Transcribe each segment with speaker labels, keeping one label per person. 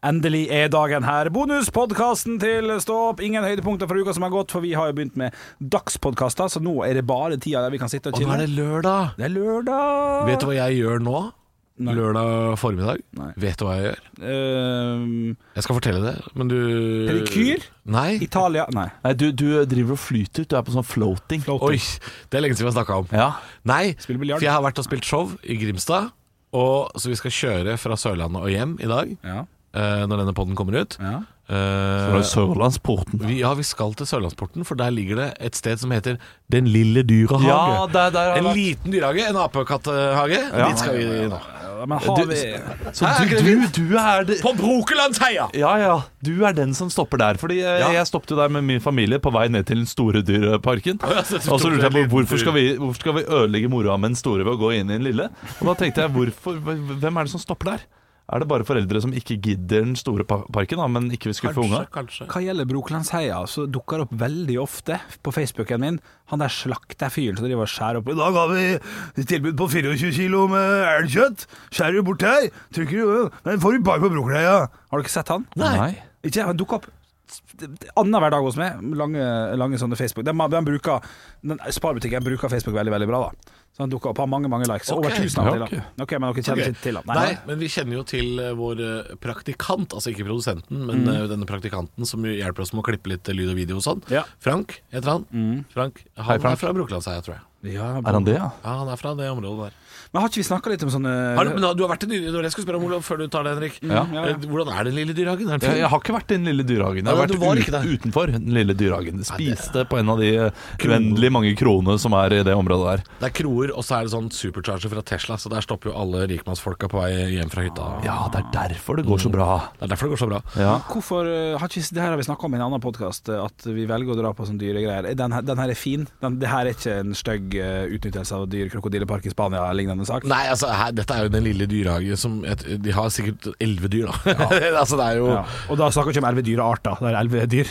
Speaker 1: Endelig er dagen her. Bonuspodkasten til Stå opp. Ingen høydepunkter fra uka som har gått, for vi har jo begynt med dagspodkaster, så nå er det bare tida der vi kan sitte og
Speaker 2: Og nå
Speaker 1: chille.
Speaker 2: er det lørdag.
Speaker 1: Det er lørdag.
Speaker 2: Vet du hva jeg gjør nå?
Speaker 1: Nei.
Speaker 2: Lørdag formiddag?
Speaker 1: Nei.
Speaker 2: Vet du hva jeg gjør?
Speaker 1: Ehm,
Speaker 2: Jeg skal fortelle det, men du
Speaker 1: Pedikyr?
Speaker 2: Nei.
Speaker 1: Italia Nei.
Speaker 3: Nei, du, du driver og flyter. Du er på sånn floating.
Speaker 2: Oi, det er lenge siden vi har snakka om.
Speaker 3: Ja.
Speaker 2: Nei,
Speaker 1: Spille
Speaker 2: for
Speaker 1: biljard?
Speaker 2: jeg har vært og spilt show i Grimstad. Og, så vi skal kjøre fra Sørlandet og hjem i dag,
Speaker 1: Ja.
Speaker 2: eh, når denne podden kommer ut.
Speaker 1: ja.
Speaker 3: Du
Speaker 2: Eh,
Speaker 3: er i Sørlandsporten.
Speaker 2: vi, ja, vi skal til Sørlandsporten, for der ligger det et sted som heter Den lille dyrehage.
Speaker 3: Ja, der, der har
Speaker 2: en
Speaker 3: jeg vært.
Speaker 2: liten dyrehage, en apekatthage. Dit skal vi nå.
Speaker 1: Ja, Men har
Speaker 3: Du-
Speaker 1: vi
Speaker 3: Så
Speaker 2: Hæ, er
Speaker 3: du,
Speaker 2: ikke det
Speaker 3: du, du er det
Speaker 2: På Brokelandsheia!
Speaker 3: Ja, ja. Du er den som stopper der. Fordi eh,
Speaker 2: Ja.
Speaker 3: jeg stoppet jo der med min familie på vei ned til den store dyreparken.
Speaker 2: ja, så
Speaker 3: Og så lurte jeg
Speaker 2: stoppet jeg
Speaker 3: på hvorfor
Speaker 2: litt.
Speaker 3: skal vi, hvorfor skal vi ødelegge moroa med den store ved å gå inn i den lille? Og da tenkte jeg hvorfor, hvem er det som stopper der? Er det bare foreldre som ikke gidder den store pa- parken, da, men ikke vil skuffe unga?
Speaker 2: kanskje.
Speaker 1: Hva gjelder Brokelandsheia, så dukker det opp veldig ofte på Facebooken min han der slakterfyren som driver og skjærer opp. I dag har vi tilbud på 24 kilo med elgkjøtt. Skjærer du bort her, trykker du Den får du bare på Brokelandsheia. Har du ikke sett han? Ikke Han dukker opp annenhver dag hos meg. Lange, lange sånne Facebook. De, de bruker, den Sparbutikken bruker Facebook veldig veldig bra, da. Så han dukker opp, har mange mange likes. Over
Speaker 2: Ok.
Speaker 1: 1000 av
Speaker 3: Ja,
Speaker 1: og til. da. Ok, Men dere kjenner
Speaker 2: Ok.
Speaker 1: ikke til han?
Speaker 2: Nei, men vi kjenner jo til eh, vår eh, praktikant, altså ikke produsenten, men eh, denne praktikanten som jo hjelper oss med å klippe litt eh, lyd og video og sånn.
Speaker 1: Ja.
Speaker 2: Frank heter han. Frank, han
Speaker 3: Hei, Frank.
Speaker 2: er fra Brokelandsheia, tror jeg.
Speaker 1: Ja,
Speaker 3: Er han det, ja?
Speaker 2: Ja, han er fra det området der.
Speaker 1: men har ikke vi snakka litt om sånne
Speaker 2: Har du, men da- du har vært i dyre- det var det jeg skulle spørre om, Olav, før du tar det, Henrik.
Speaker 1: Ja, ja, ja.
Speaker 2: Eh, Hvordan er den lille dyrehagen? Er den
Speaker 3: Jeg,
Speaker 2: fin?
Speaker 3: jeg har ikke vært i den lille dyrehagen. Jeg
Speaker 2: Nei,
Speaker 3: har
Speaker 2: du var
Speaker 3: vært
Speaker 2: ikke der.
Speaker 3: ut, utenfor den lille dyrehagen. Spiste på en av de uendelig mange kronene som er i det området der.
Speaker 2: Det er kroer, og så er det sånn supercharger fra Tesla, så der stopper jo alle rikmannsfolka på vei hjem fra hytta.
Speaker 3: Ja, det er derfor det går så bra.
Speaker 2: Det er derfor det går så bra.
Speaker 3: Ja.
Speaker 1: Hvorfor eh, har ikke, Det her har vi snakka om i en annen podkast, at vi velger å dra på sånne dyregreier. Er Den, her- den her er fin. Den, det her er ikke en stygg eh, utnyttelse av dyr, krokodillepark i Spania eller lignende sak.
Speaker 2: Nei, altså, her, dette er jo den lille dyrehagen som et, De har sikkert elleve dyr, da. altså, det er jo
Speaker 1: Ja. Og da snakker vi ikke om elleve dyrearter, det er elleve dyr.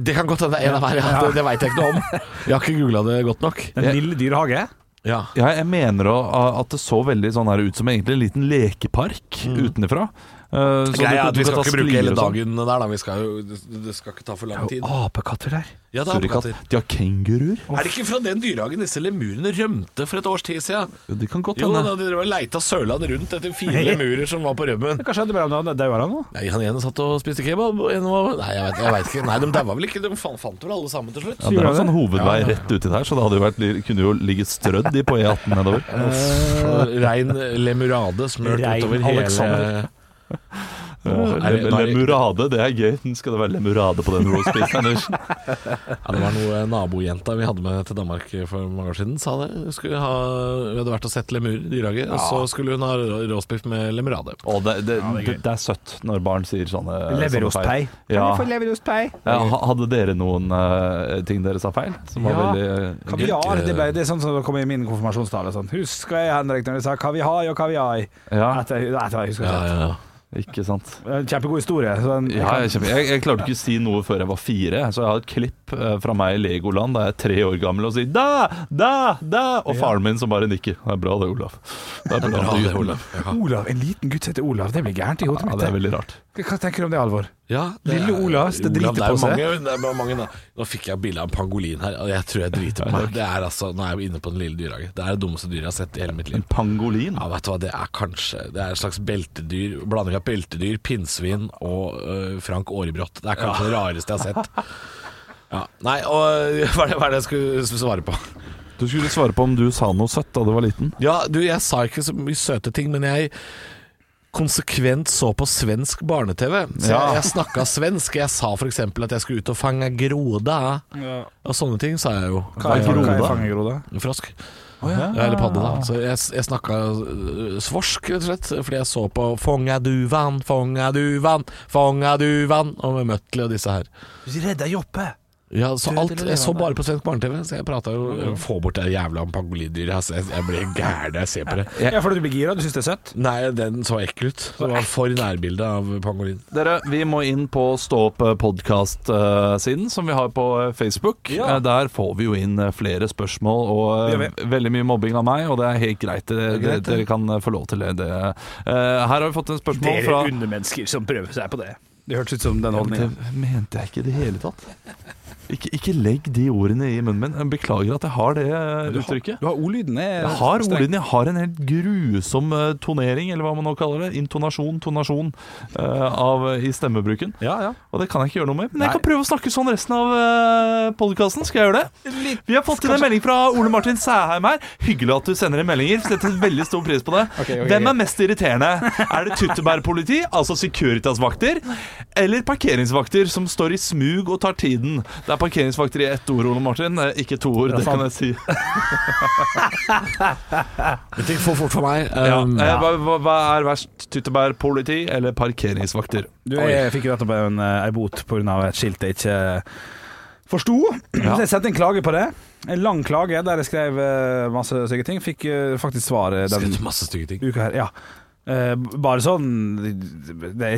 Speaker 2: Det kan godt hende det er en av hver, ja. det, det veit jeg ikke noe om. Jeg har ikke googla det godt nok.
Speaker 1: Den lille dyrehage.
Speaker 2: Ja.
Speaker 3: Ja, jeg mener å- at det så veldig sånn her ut som egentlig en liten lekepark utenfra. Uh,
Speaker 2: Greia er at vi skal ikke bruke hele
Speaker 3: sånn.
Speaker 2: dagen der, da. Vi skal jo, det, det skal ikke ta for lang tid.
Speaker 3: Apekatter der.
Speaker 2: Ja, det er
Speaker 3: Surikatt.
Speaker 2: apekatter.
Speaker 3: De har kenguruer.
Speaker 2: Er det ikke fra den dyrehagen disse lemurene rømte for et års tid siden?
Speaker 3: Jo, De kan godt
Speaker 2: Jo, da
Speaker 3: hende.
Speaker 2: de drev og leita Sørland rundt etter fire lemurer som var på rømmen.
Speaker 1: Hva skjedde mellom dem? Dauer han nå?
Speaker 2: Nei, Han ene satt og spiste kebab, og en var Nei, jeg vet, jeg vet ikke. Nei, de daua vel ikke? De fan- fant vel alle sammen til slutt?
Speaker 3: Ja, det var en sånn hovedvei rett uti der, så det hadde jo vært, kunne jo ligget strødd i på E18 nedover.
Speaker 2: Rein lemurade smørt
Speaker 1: Rein
Speaker 2: utover hele
Speaker 1: Alexander.
Speaker 3: Åh,
Speaker 2: er det-
Speaker 3: lem-
Speaker 2: da er det-
Speaker 3: Lemurade, det er gøy. Skal det være lemurade på den roastbeefen? Anders?
Speaker 2: Ja, det var noe nabojenta vi hadde med til Danmark for mange år siden, sa det. Hun skulle ha, vi hadde vært og sett lemurer i dyrehagen, og så skulle hun ha rå- råsbiff med lemurade.
Speaker 3: Å, det, det, det, det er søtt når barn sier sånne sånne
Speaker 1: Leverostei.
Speaker 3: feil. Ja.
Speaker 1: leverostei?
Speaker 3: Ja, ha- hadde dere noen eh, ting dere sa feil? Som var
Speaker 1: Ja.
Speaker 3: veldig eh,
Speaker 1: Kaviar. Det, ble, det er sånn som det kom i min konfirmasjonstale. Sånn. Husker jeg, Henrik, når du sa kaviar og kaviar?
Speaker 3: Ja,
Speaker 1: Etter, etter, jeg husker
Speaker 2: Ja,
Speaker 1: ikke.
Speaker 2: ja, ja.
Speaker 3: ikke sant.
Speaker 1: Kjempegod historie. Så den,
Speaker 3: Ja, jeg, kjempe- jeg, jeg klarte ikke å si noe før jeg var fire, så jeg har et klipp eh, fra meg i Legoland da jeg er tre år gammel og sier 'da, da, da', og faren min som bare nikker. Det er bra det, Olav. Det er bra,
Speaker 2: Bra
Speaker 3: du
Speaker 2: det,
Speaker 3: gjør
Speaker 2: Olav. Ja.
Speaker 1: Olav, En liten gutt som heter Olav. Det blir gærent i hodet
Speaker 3: Ja,
Speaker 1: mitt.
Speaker 3: det er veldig rart.
Speaker 1: Hva tenker du om det, Alvor?
Speaker 2: Ja,
Speaker 1: Lille Olav, det driter
Speaker 2: det er
Speaker 1: på seg.
Speaker 2: Mange, det er bare mange, da. Nå fikk jeg bilde av en pangolin her, og jeg tror jeg driter på meg. Det er altså, nå er jeg jo inne på den lille dyrehagen. Det er det dummeste dyret jeg har sett i hele mitt liv.
Speaker 3: En pangolin.
Speaker 2: Ja, vet du hva, det er kanskje Det er et slags beltedyr, blanding av beltedyr, pinnsvin og øh, Frank Aarebrot. Det er kanskje det rareste jeg har sett. Ja, nei, og øh, hva er det, hva er det jeg skulle svare på?
Speaker 3: Du skulle svare på om du sa noe søtt da du var liten.
Speaker 2: Ja, du, jeg sa ikke så mye søte ting, men jeg konsekvent så på svensk barne-TV. Så
Speaker 3: Ja.
Speaker 2: jeg, jeg snakka svensk. Jeg sa f.eks. at jeg skulle ut og fange groda,
Speaker 1: Ja.
Speaker 2: og sånne ting sa jeg jo.
Speaker 1: Hva er
Speaker 3: Hva er
Speaker 1: hva er
Speaker 3: groda?
Speaker 1: fangegroda?
Speaker 2: Frosk. Ja, eller padde,
Speaker 3: Ah.
Speaker 2: da. Så jeg, jeg snakka øh, svorsk, rett og slett, fordi jeg så på 'Fonga duvan, fonga duvan, fonga duvan' og med Møtley og disse her.
Speaker 1: Redda Joppe!
Speaker 2: Ja, så
Speaker 1: Død
Speaker 2: alt,
Speaker 1: eller
Speaker 2: jeg så
Speaker 1: levende?
Speaker 2: bare på svensk barne-TV, så jeg prata jo øh, Få bort det jævla pangolindyret. Altså, jeg, jeg ble gæren når jeg ser på det.
Speaker 1: Ja, for du blir gira, du syns det er søtt?
Speaker 2: Nei, den så ekkel ut. Det var for nærbilde av pangolin.
Speaker 3: Dere, vi må inn på Stå opp podkast-siden som vi har på eh, Facebook.
Speaker 1: Ja.
Speaker 3: Eh, Der får vi jo inn eh, flere spørsmål og eh,
Speaker 1: Det gjør
Speaker 3: veldig mye mobbing av meg, og det er helt greit. Det,
Speaker 2: Det er
Speaker 3: det,
Speaker 2: greit,
Speaker 3: dere kan eh, få lov til det. det. Eh, Her har vi fått en spørsmål fra
Speaker 1: undermennesker som prøver seg på det. Det hørtes ut som den holdningen.
Speaker 3: Det mente jeg ikke i det hele tatt. Ikke, ikke legg de ordene i munnen min. Beklager at jeg har det eh,
Speaker 1: Du har-
Speaker 3: uttrykket.
Speaker 1: Du har ordlyden.
Speaker 3: Jeg har ordlyden. Jeg har en helt grusom eh, tonering, eller hva man nå kaller det. Intonasjon, tonasjon, eh, av, i stemmebruken.
Speaker 1: Ja, ja.
Speaker 3: Og det kan jeg ikke gjøre noe med. Men jeg
Speaker 1: Nei.
Speaker 3: kan prøve å snakke sånn resten av uh, podkasten. Skal jeg gjøre det? Vi har fått inn en melding fra Ole Martin Sæheim her. Hyggelig at du sender inn meldinger. Setter veldig stor pris på det.
Speaker 1: Ok, ok,
Speaker 3: Hvem er mest irriterende? Er det tyttebærpoliti, altså Securitas-vakter, eller parkeringsvakter som står i smug og tar tiden? Det er parkeringsvakter i ett ord, Ole Martin, eh, ikke to ord. Det kan jeg si.
Speaker 2: Dette gikk for fort for meg.
Speaker 3: Ja.
Speaker 2: Um,
Speaker 3: Eh, Hva, hva, hva er verst, tyttebærpoliti eller parkeringsvakter?
Speaker 1: Du, jeg fikk jo nettopp en, eh, en bot pga. et skilt jeg ikke eh, forsto. Så jeg sendte en klage på det. En lang klage der jeg skrev eh, masse stygge ting. Fikk eh, faktisk svar eh, den
Speaker 2: skrevet masse stygge ting.
Speaker 1: uka her. Ja. Eh, b- bare sånn det, det,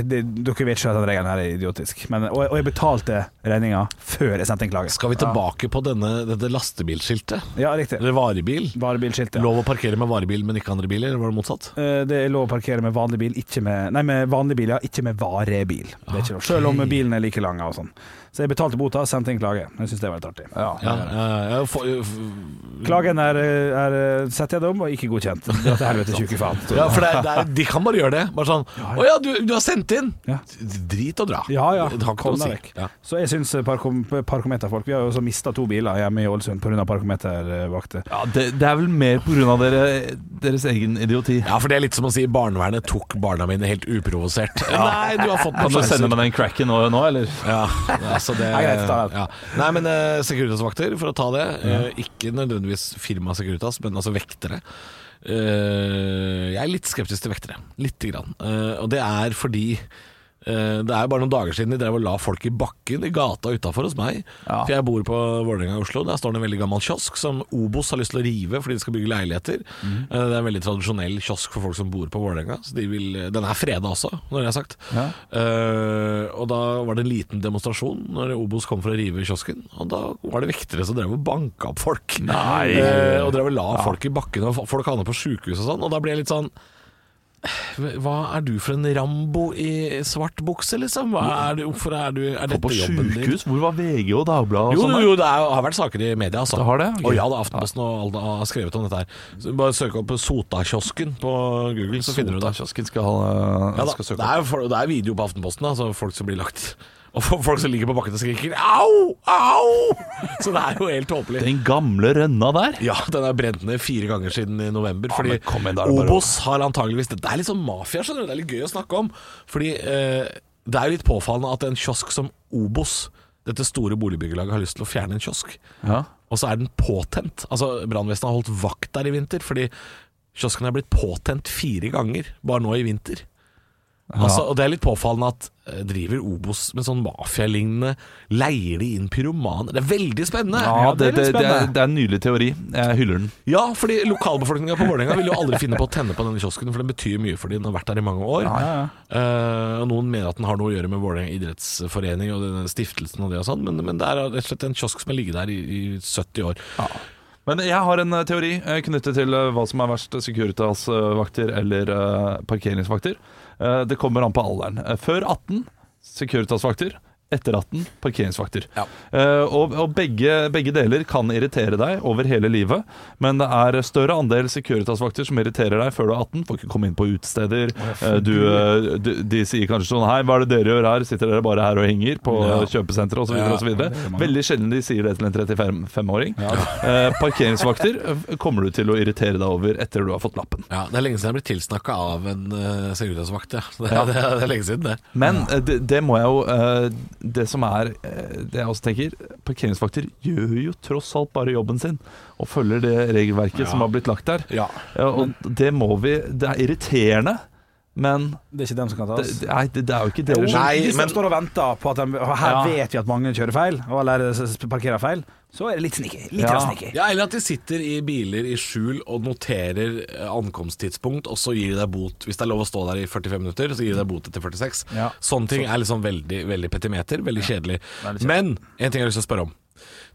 Speaker 1: Dere vet ikke at den regelen her er idiotisk. Men, og, og jeg betalte regninga før jeg sendte en klage.
Speaker 2: Skal vi tilbake på denne, dette lastebilskiltet?
Speaker 1: Ja, riktig.
Speaker 2: Eller varebil?
Speaker 1: Varebilskiltet.
Speaker 2: Lov å parkere med varebil, men ikke andre biler? Eller var det motsatt?
Speaker 1: Eh, Det er lov å parkere med vanlig bil, ikke med, nei, med vanlig bil, ja, ikke med varebil. Det er ikke lov. Selv
Speaker 2: Ah,
Speaker 1: om bilen er like lang og sånn. Så jeg betalte bota og sendte inn klage. Jeg syns det var litt artig.
Speaker 2: Ja, eh, jeg får-
Speaker 1: Klagen er, er setter jeg det om, og ikke godkjent. Dra til helvete, tjuke faen.
Speaker 2: ja, for det, er- det er, de kan bare gjøre det. Bare sånn 'Å ja, du, du har sendt inn!'
Speaker 1: Ja.
Speaker 2: Drit og dra.
Speaker 1: Ja, ja.
Speaker 2: Det har ikke
Speaker 1: Kom
Speaker 2: noe å
Speaker 1: deg
Speaker 2: si.
Speaker 1: vekk.
Speaker 2: Ja.
Speaker 1: Så jeg syns eh, parkom, parkometerfolk Vi har jo også mista to biler hjemme i Ålesund pga. parkometervakter.
Speaker 3: Ja, det, det er vel mer pga. Dere, deres egen idioti.
Speaker 2: Ja, for det er litt som å si barnevernet tok barna mine helt uprovosert. Nei, du har fått
Speaker 3: Kan du sende meg den cracken nå, nå eller?
Speaker 2: Ja, altså det
Speaker 1: Nei, greit, ta den.
Speaker 2: ja. Nei, men eh, Securitas-vakter, for å ta det. eh, ikke nødvendigvis firma Securitas, men altså vektere. Eh, jeg er litt skeptisk til vektere. Lite grann. Eh, og det er fordi eh, det er bare noen dager siden de drev og la folk i bakken i gata utafor hos meg.
Speaker 3: Ja.
Speaker 2: For jeg bor på Vålerenga i Oslo. Der står det en veldig gammel kiosk som Obos har lyst til å rive fordi de skal bygge leiligheter. Eh, det er en veldig tradisjonell kiosk for folk som bor på Vålerenga. så de vil- eh, Den er freda også, når det er sagt.
Speaker 3: Ja.
Speaker 2: Eh, og da var det en liten demonstrasjon når Obos kom for å rive kiosken. Og da var det vektere som drev og banka opp folk.
Speaker 3: Nei.
Speaker 2: Eh, og drev og la folk i bakken, og folk havna på sjukehus og sånn. Og da ble jeg litt sånn "Eh, Hva er du for en Rambo i svart bukse, liksom? Hva er du, hvorfor er du Er
Speaker 3: Og på
Speaker 2: dette jobben din?
Speaker 3: sjukehus? Hvor var VG og Dagbladet og
Speaker 2: Jo,
Speaker 3: sånn?
Speaker 2: jo,
Speaker 3: der?
Speaker 2: jo, det er, har vært saker i media, altså.
Speaker 3: Det har det? Ok.
Speaker 2: Og ja, da, Aftenposten og alle har skrevet om dette her. Så bare søk opp Sotakiosken på Google, så finner du det.
Speaker 3: Sotakiosken skal, eh,
Speaker 2: Ja da,
Speaker 3: skal
Speaker 2: det
Speaker 3: søke opp.
Speaker 2: er, for- det er video på Aftenposten, da, så folk som blir lagt Og for- folk som ligger på bakken og skriker 'au, au'! Så det er jo helt tåpelig.
Speaker 3: Den gamle rønna der?
Speaker 2: Ja, den er brent ned fire ganger siden i november. Fordi
Speaker 3: men kom igjen, da er det bare-
Speaker 2: Obos har antageligvis Det er litt sånn mafia, skjønner du. Det er litt gøy å snakke om. Fordi eh, det er jo litt påfallende at en kiosk som Obos, dette store boligbyggelaget, har lyst til å fjerne en kiosk.
Speaker 3: Ja.
Speaker 2: Og så er den påtent. Altså, Brannvesenet har holdt vakt der i vinter, fordi kiosken er blitt påtent fire ganger bare nå i vinter. Altså, og Det er litt påfallende at eh, driver Obos med sånn mafialignende Leier de inn pyromaner? Det er veldig spennende!
Speaker 3: Ja,
Speaker 1: Ja, det
Speaker 3: det,
Speaker 1: er
Speaker 3: det,
Speaker 1: litt
Speaker 3: det, er,
Speaker 1: spennende.
Speaker 3: det er en nydelig teori. Jeg hyller den.
Speaker 2: Ja, fordi lokalbefolkninga på Vålerenga vil jo aldri finne på å tenne på denne kiosken, for den betyr mye for dem. Den har vært der i mange år. Eh, og Noen mener at den har noe å gjøre med Vålerenga idrettsforening og denne stiftelsen og det og sånn, men, men det er rett og slett en kiosk som har ligget der i, i 70 år.
Speaker 3: Men jeg har en eh, teori eh, knyttet til eh, hva som er verst. Securitas-vakter eller eh, parkeringsvakter. Eh, Det kommer an på alderen. Eh, Før 18 Securitas-vakter. Etter 18 parkeringsvakter.
Speaker 2: Ja.
Speaker 3: Eh, og og begge, begge deler kan irritere deg over hele livet, men det er større andel Securitas-vakter som irriterer deg før du er 18. Får ikke komme inn på utesteder. Eh, du, eh, du, de sier kanskje sånn Hei, hva er det dere gjør her? Sitter dere bare her og henger på
Speaker 2: Ja.
Speaker 3: eh, kjøpesentre osv.?
Speaker 2: Ja,
Speaker 3: videre Veldig sjelden de sier det til en 35-åring. Eh, parkeringsvakter eh, kommer du til å irritere deg over etter du har fått lappen.
Speaker 2: Ja, Det er lenge siden jeg har blitt tilsnakka av en uh, Securitas-vakt. Ja. Det, det, det er lenge siden, det.
Speaker 3: Men eh, det, det må jeg jo eh, Det som er eh, det jeg også tenker Parkeringsvakter gjør jo tross alt bare jobben sin og følger det regelverket som har blitt lagt der.
Speaker 2: Ja.
Speaker 3: Ja, og det må vi Det er irriterende. men
Speaker 1: Det er ikke dem som kan
Speaker 3: det,
Speaker 1: tas.
Speaker 3: det- nei, det, det er jo ikke
Speaker 1: Jo,
Speaker 3: deres
Speaker 2: Nei,
Speaker 1: hvis de
Speaker 2: men-
Speaker 1: står og venter på at de, og Her
Speaker 3: Ja.
Speaker 1: vet vi at mange kjører feil, og- eller s- s- parkerer feil, så er det litt sneaky. Litt
Speaker 3: Ja.
Speaker 1: ja. sneaky.
Speaker 2: Ja, Eller at de sitter i biler i skjul og noterer eh, ankomsttidspunkt, og så gir de deg bot. Hvis det er lov å stå der i 45 minutter, så gir de deg bot etter 46.
Speaker 1: Ja.
Speaker 2: Sånne ting er liksom veldig, veldig petimeter, veldig kjedelig. Men en ting jeg har lyst til å spørre om.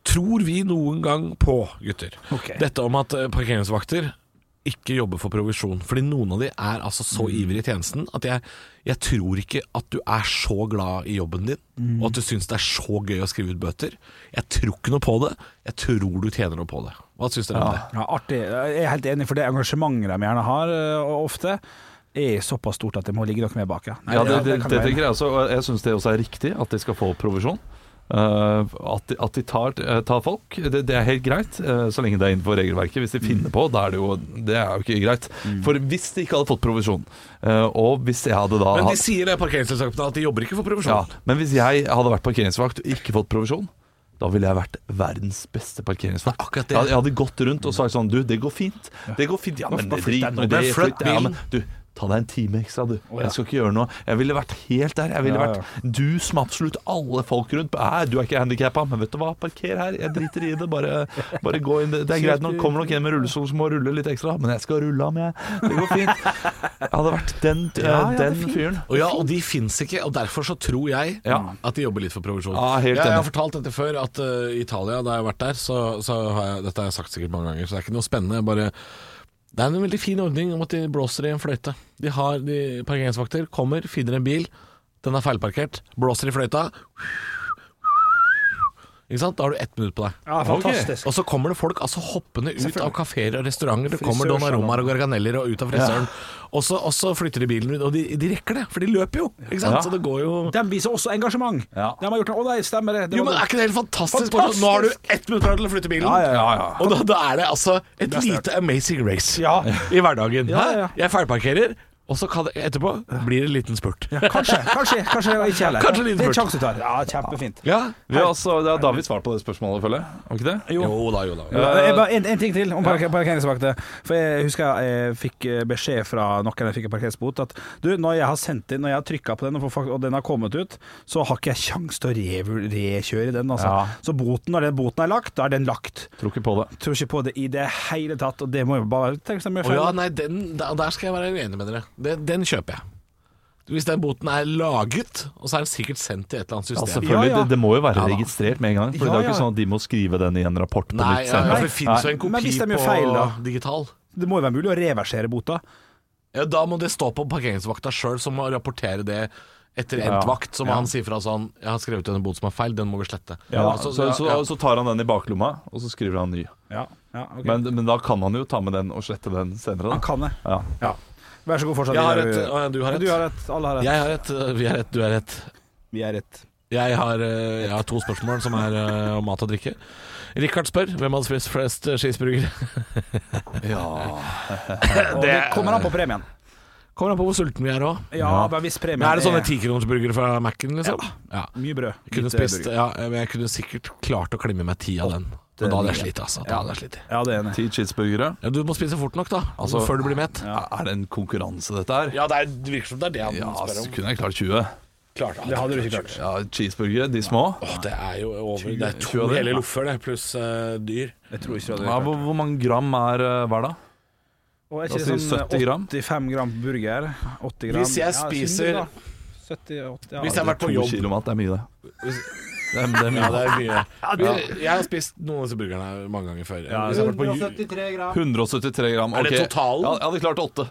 Speaker 2: Tror vi noen gang på, gutter,
Speaker 1: Ok.
Speaker 2: dette om at eh, parkeringsvakter ikke jobber for provisjon? Fordi noen av de er altså så ivrig i tjenesten at jeg, jeg tror ikke at du er så glad i jobben din, og at du syns det er så gøy å skrive ut bøter. Jeg tror ikke noe på det. Jeg tror du tjener noe på det. Hva syns dere om det?
Speaker 1: Ja, artig. Jeg er helt enig, for det engasjementet de gjerne har, eh, og ofte, er såpass stort at det må ligge noe mer bak. Ja, Nei,
Speaker 3: Ja, det, det,
Speaker 1: kan
Speaker 3: det
Speaker 1: være enig.
Speaker 3: tenker jeg også. Og jeg syns det også er riktig at de skal få provisjon. Eh, at, de, at de tar, eh, tar folk, det, det er helt greit, eh, så lenge det er innenfor regelverket. Hvis de finner på, da er det jo Det er jo ikke greit. For hvis de ikke hadde fått provisjon, eh, og hvis jeg hadde da
Speaker 2: Men de
Speaker 3: hatt-
Speaker 2: sier det i parkeringsselskapene at de jobber ikke for
Speaker 3: ja,
Speaker 2: provisjon.
Speaker 3: Men hvis jeg hadde vært parkeringsvakt og ikke fått provisjon, da ville jeg vært verdens beste parkeringsvakt.
Speaker 2: Det er akkurat det.
Speaker 3: Jeg hadde- jeg hadde gått rundt og sagt sånn Du, det går fint. Det går fint. Ja, men
Speaker 1: Bare
Speaker 3: det
Speaker 1: flytt deg
Speaker 3: drit
Speaker 1: nå.
Speaker 3: nå i
Speaker 2: Bare
Speaker 3: det.
Speaker 2: flytt
Speaker 3: Flytt deg. Ja,
Speaker 2: bilen.
Speaker 3: men du, ta deg en time ekstra, du.
Speaker 1: ja.
Speaker 3: Jeg skal ikke gjøre noe. Jeg ville vært helt der. Jeg ville
Speaker 1: Ja, ja.
Speaker 3: vært du som absolutt alle folk rundt Nei, du er ikke handikappa, men vet du hva, parker her. Jeg driter i det. Bare, bare gå inn. Det er greit nok. Kommer nok en med rullestol som må rulle litt ekstra, men jeg skal rulle ham, jeg. Det går fint. Jeg hadde vært den, eh,
Speaker 1: Ja, ja, det er
Speaker 3: den
Speaker 1: fint.
Speaker 3: fyren.
Speaker 2: Og ja, og de fins ikke, og derfor så tror jeg
Speaker 3: Ja.
Speaker 2: at de jobber litt for provisjon.
Speaker 3: Ja, helt
Speaker 2: jeg, jeg har
Speaker 3: enig.
Speaker 2: fortalt dette før, at eh, i Italia, da jeg har vært der, så, så har jeg Dette har jeg sagt sikkert mange ganger, så det er ikke noe spennende. Bare Det er en veldig fin ordning om at de blåser i en fløyte. De har de parkeringsvakter, kommer, finner en bil, den er feilparkert, blåser i fløyta. Ikke sant? Da har du ett minutt på deg.
Speaker 1: Ja, fantastisk.
Speaker 2: Og så kommer det folk altså hoppende ut av kafeer og restauranter. Det kommer
Speaker 1: Frisørsalong.
Speaker 2: Donnaromaer og Garganeller og ut av frisøren. Og, så, og så flytter de bilen ut, og de, de rekker det, for de løper jo. Ikke sant?
Speaker 3: Ja.
Speaker 2: Så det går jo
Speaker 1: De viser også engasjement.
Speaker 3: Ja.
Speaker 1: De har gjort noe Å nei, stemmer det. det
Speaker 2: Jo,
Speaker 1: var
Speaker 2: men
Speaker 1: det.
Speaker 2: Er ikke det helt fantastisk? sånn,
Speaker 1: Fantastisk!
Speaker 2: Nå har du ett minutt til å flytte bilen.
Speaker 1: Ja, ja, ja.
Speaker 2: Og da, da er det altså et lite amazing race
Speaker 1: Ja.
Speaker 2: i hverdagen.
Speaker 1: Ja, ja, ja.
Speaker 2: Hæ? Jeg feilparkerer, og så kan det, etterpå blir det en liten spurt. Ja,
Speaker 1: Kanskje, kanskje, kanskje ikke heller.
Speaker 2: Kanskje litt
Speaker 1: det er en
Speaker 2: fort.
Speaker 1: sjanse du tar. Ja, kjempefint.
Speaker 3: Vi har altså, det er da vi svarte på det spørsmålet, føler jeg. Var ikke det?
Speaker 2: Jo. da, jo da.
Speaker 1: Ja, Eh, jeg bare- En, en ting til om parker, parkeringsvakter. For Jeg husker jeg fikk eh, beskjed fra noen jeg fikk en parkeringsbot at du, når jeg har sendt inn, når jeg har trykka på den, og, får fak- og den har kommet ut, så har ikke jeg kjangs til å revu- rekjøre den. Altså.
Speaker 3: Ja.
Speaker 1: Så boten, når den boten er lagt, da er den lagt.
Speaker 3: Tror ikke på det.
Speaker 1: Tror ikke på det i det hele tatt, og det må jo bare tenke seg mye
Speaker 2: Å
Speaker 1: feil.
Speaker 2: ja, nei, den, der der skal jeg være uenig med dere. Den, den kjøper jeg. Hvis den boten er laget, og så er den sikkert sendt til et eller annet
Speaker 3: Ja,
Speaker 2: system.
Speaker 3: selvfølgelig,
Speaker 1: Ja, ja.
Speaker 3: Det, det må jo være
Speaker 2: Ja, da.
Speaker 3: registrert med en gang. For
Speaker 1: Ja,
Speaker 3: det er jo
Speaker 1: ja.
Speaker 3: ikke sånn at de må skrive den i en rapport på
Speaker 2: Nei,
Speaker 3: nytt
Speaker 2: ja, ja,
Speaker 3: senere.
Speaker 2: for det finnes jo en
Speaker 1: Nei. Men
Speaker 2: kopi
Speaker 1: hvis de
Speaker 2: på
Speaker 1: gjør feil, da?
Speaker 2: digital.
Speaker 1: Det må jo være mulig å reversere bota.
Speaker 2: Ja, da må det stå på parkeringsvakta sjøl, som må rapportere det etter
Speaker 3: Ja,
Speaker 2: endt vakt. Så må
Speaker 3: ja.
Speaker 2: han si fra sånn Jeg har skrevet en bot som er feil, den må vi slette.
Speaker 3: Ja,
Speaker 2: Altså,
Speaker 3: så, så, så,
Speaker 2: ja, ja.
Speaker 3: tar han den i baklomma, og så skriver han ny.
Speaker 1: Ja, ja, ok.
Speaker 3: Men, men da kan han jo ta med den og slette den senere.
Speaker 1: Han
Speaker 3: Da.
Speaker 1: kan det.
Speaker 3: Ja.
Speaker 1: Ja. Vær så god, fortsatt.
Speaker 2: Jeg har
Speaker 1: Vidar.
Speaker 2: rett, å, ja, du har
Speaker 1: Du har
Speaker 2: rett.
Speaker 1: rett. Alle har rett.
Speaker 2: Jeg har rett, øh, vi har rett, du har rett.
Speaker 1: Vi er rett.
Speaker 2: Jeg har, øh, jeg har to spørsmål som er øh, om mat og drikke. Rikard spør hvem hadde spist flest øh, cheeseburgere.
Speaker 1: Og det kommer an på premien.
Speaker 2: Kommer an på hvor sulten vi er òg.
Speaker 1: Ja, men hvis premien
Speaker 2: Men er det sånne tikronersburgere fra Mac-en, liksom? Ja.
Speaker 1: Mye brød.
Speaker 2: Jeg kunne
Speaker 1: Litt, eh,
Speaker 2: spist,
Speaker 1: burger.
Speaker 2: ja, men jeg kunne sikkert klart å klemme meg ti av den. Men da hadde jeg slitt, altså. Da hadde jeg slitt.
Speaker 1: Ja, det er enig.
Speaker 3: Ti cheeseburgere.
Speaker 2: Ja, du må spise fort nok, da. Altså,
Speaker 3: Altså-
Speaker 2: før du blir mett. Ja,
Speaker 3: Er- Er det en konkurranse, dette her?
Speaker 2: det, er, det virker som det er det han
Speaker 3: Ja,
Speaker 2: spør
Speaker 3: så
Speaker 2: om.
Speaker 3: kunne jeg klart 20.
Speaker 2: Klart,
Speaker 1: Det hadde du ikke klart.
Speaker 3: Ja, Cheeseburgere, de små.
Speaker 2: Åh, det er jo over. Det er
Speaker 3: tjue
Speaker 2: to
Speaker 3: av det.
Speaker 2: hele loffer, det, pluss eh, dyr.
Speaker 1: Jeg tror ikke du hadde
Speaker 3: Ja, hvor, hvor mange gram er eh, hver, da?
Speaker 1: Og er
Speaker 3: Da
Speaker 1: ikke det
Speaker 3: sier
Speaker 1: sånn
Speaker 3: 70 gram.
Speaker 1: 85 gram burger? 80 gram
Speaker 2: Hvis jeg spiser-
Speaker 1: 70-80 ja.
Speaker 2: Hvis jeg har vært på
Speaker 3: To
Speaker 2: jobb
Speaker 3: kilo mat, det er mye, det. Det er, det er
Speaker 2: Ja,
Speaker 3: mye.
Speaker 2: det er mye. Vi- Jeg har spist noen av disse burgerne mange ganger før. Hvis jeg har vært på ju-
Speaker 1: 173 gram.
Speaker 3: 173 gram.
Speaker 2: Er det
Speaker 3: ok.
Speaker 2: totalen?
Speaker 3: Ja, Jeg hadde klart åtte.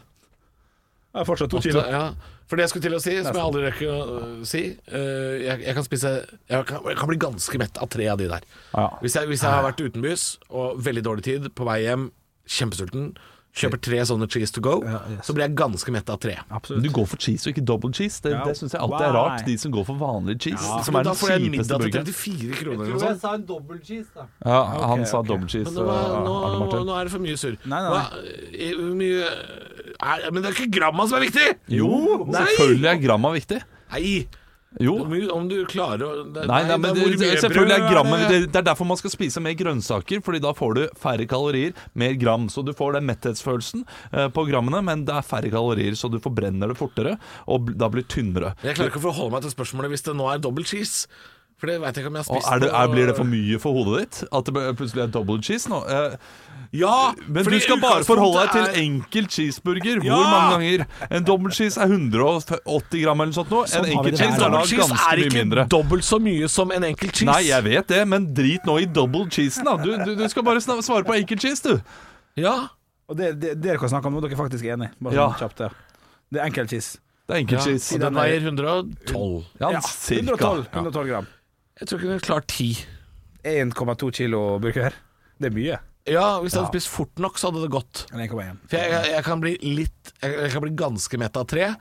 Speaker 1: Det er fortsatt to
Speaker 2: Åtte,
Speaker 1: kilo.
Speaker 2: Ja. For det jeg skulle til å si, som jeg aldri rekker å øh, si øh, jeg, jeg kan spise jeg kan, jeg kan bli ganske mett av tre av de der.
Speaker 3: Ja.
Speaker 2: Hvis, jeg, hvis jeg har vært utenbys og veldig dårlig tid på vei hjem, kjempesulten, kjøper tre sånne cheese to go,
Speaker 1: Ja, yes.
Speaker 2: så blir jeg ganske mett av tre.
Speaker 1: Absolutt.
Speaker 3: Du går for cheese og ikke double cheese. Det,
Speaker 1: Ja.
Speaker 3: det syns jeg alltid er
Speaker 1: Why?
Speaker 3: rart. De som går for vanlig cheese. Som er
Speaker 2: Men da
Speaker 3: den
Speaker 2: får jeg en
Speaker 3: kjipeste
Speaker 2: middag til
Speaker 3: burgeren.
Speaker 2: 34 kroner eller noe
Speaker 4: Jeg
Speaker 2: sånt.
Speaker 4: sa en dobbel cheese, da.
Speaker 3: Ja, han sa
Speaker 1: ok.
Speaker 3: double cheese.
Speaker 2: Men nå, er-
Speaker 3: uh, Arne
Speaker 2: nå,
Speaker 3: Martin.
Speaker 2: nå er det for mye surr.
Speaker 1: Nei, nei, nei.
Speaker 2: Hva- i- hvor mye er, Men det er ikke gramma som er viktig!
Speaker 3: Jo,
Speaker 2: Nei.
Speaker 3: selvfølgelig er gramma viktig.
Speaker 2: Nei!
Speaker 3: Jo.
Speaker 2: Hvor mye- Om du klarer å det-
Speaker 3: Nei, nei, men det,
Speaker 2: hvor
Speaker 3: det,
Speaker 2: mye
Speaker 3: selvfølgelig er
Speaker 2: brød
Speaker 3: grammen
Speaker 2: det?
Speaker 3: det, det er derfor man skal spise mer grønnsaker, Fordi da får du færre kalorier, mer gram. Så du får den metthetsfølelsen eh, på grammene, men det er færre kalorier, så du forbrenner det fortere, og bl- da blir tynnere.
Speaker 2: Jeg klarer ikke å forholde meg til spørsmålet hvis det nå er double cheese. For det veit jeg ikke om jeg har
Speaker 3: Og
Speaker 2: spist.
Speaker 3: er det,
Speaker 2: på-
Speaker 3: er, blir det for mye for hodet ditt? At det ble- plutselig er double cheese nå? Eh,
Speaker 2: Ja!
Speaker 3: Men
Speaker 2: fordi
Speaker 3: du skal bare
Speaker 2: utgangspunktet
Speaker 3: forholde deg til
Speaker 2: er-
Speaker 3: enkel cheeseburger.
Speaker 2: Ja!
Speaker 3: Hvor mange ganger? En double cheese er 180 gram eller noe sånt. Nå.
Speaker 1: Sånn
Speaker 3: En
Speaker 1: har vi
Speaker 3: enkel
Speaker 1: det der.
Speaker 3: cheese er da
Speaker 2: Double cheese
Speaker 3: ganske
Speaker 2: er
Speaker 3: mye
Speaker 2: ikke
Speaker 3: mindre.
Speaker 2: dobbelt så mye som en enkel cheese.
Speaker 3: Nei, jeg vet det, men drit nå i double cheesen, da. Du, du, du skal bare sna- svare på enkel cheese, du.
Speaker 2: Ja,
Speaker 1: Og det, det, dere kan snakke om nå, dere er faktisk enige. Bare
Speaker 3: Ja.
Speaker 1: sånn kjapt, ja. Det er enkel cheese.
Speaker 3: Det er enkel
Speaker 2: ja.
Speaker 3: cheese.
Speaker 2: Og den veier 112.
Speaker 3: Ja,
Speaker 1: Ja,
Speaker 3: cirka.
Speaker 1: 112, 112 gram.
Speaker 2: Jeg tror ikke den klarer 10.
Speaker 1: 1,2 kilo burger. Det er mye.
Speaker 2: Ja, hvis jeg hadde spist fort nok, så hadde det gått.
Speaker 1: Eller 1,1.
Speaker 2: For jeg, jeg, jeg kan bli litt Jeg, jeg kan bli ganske mett av tre.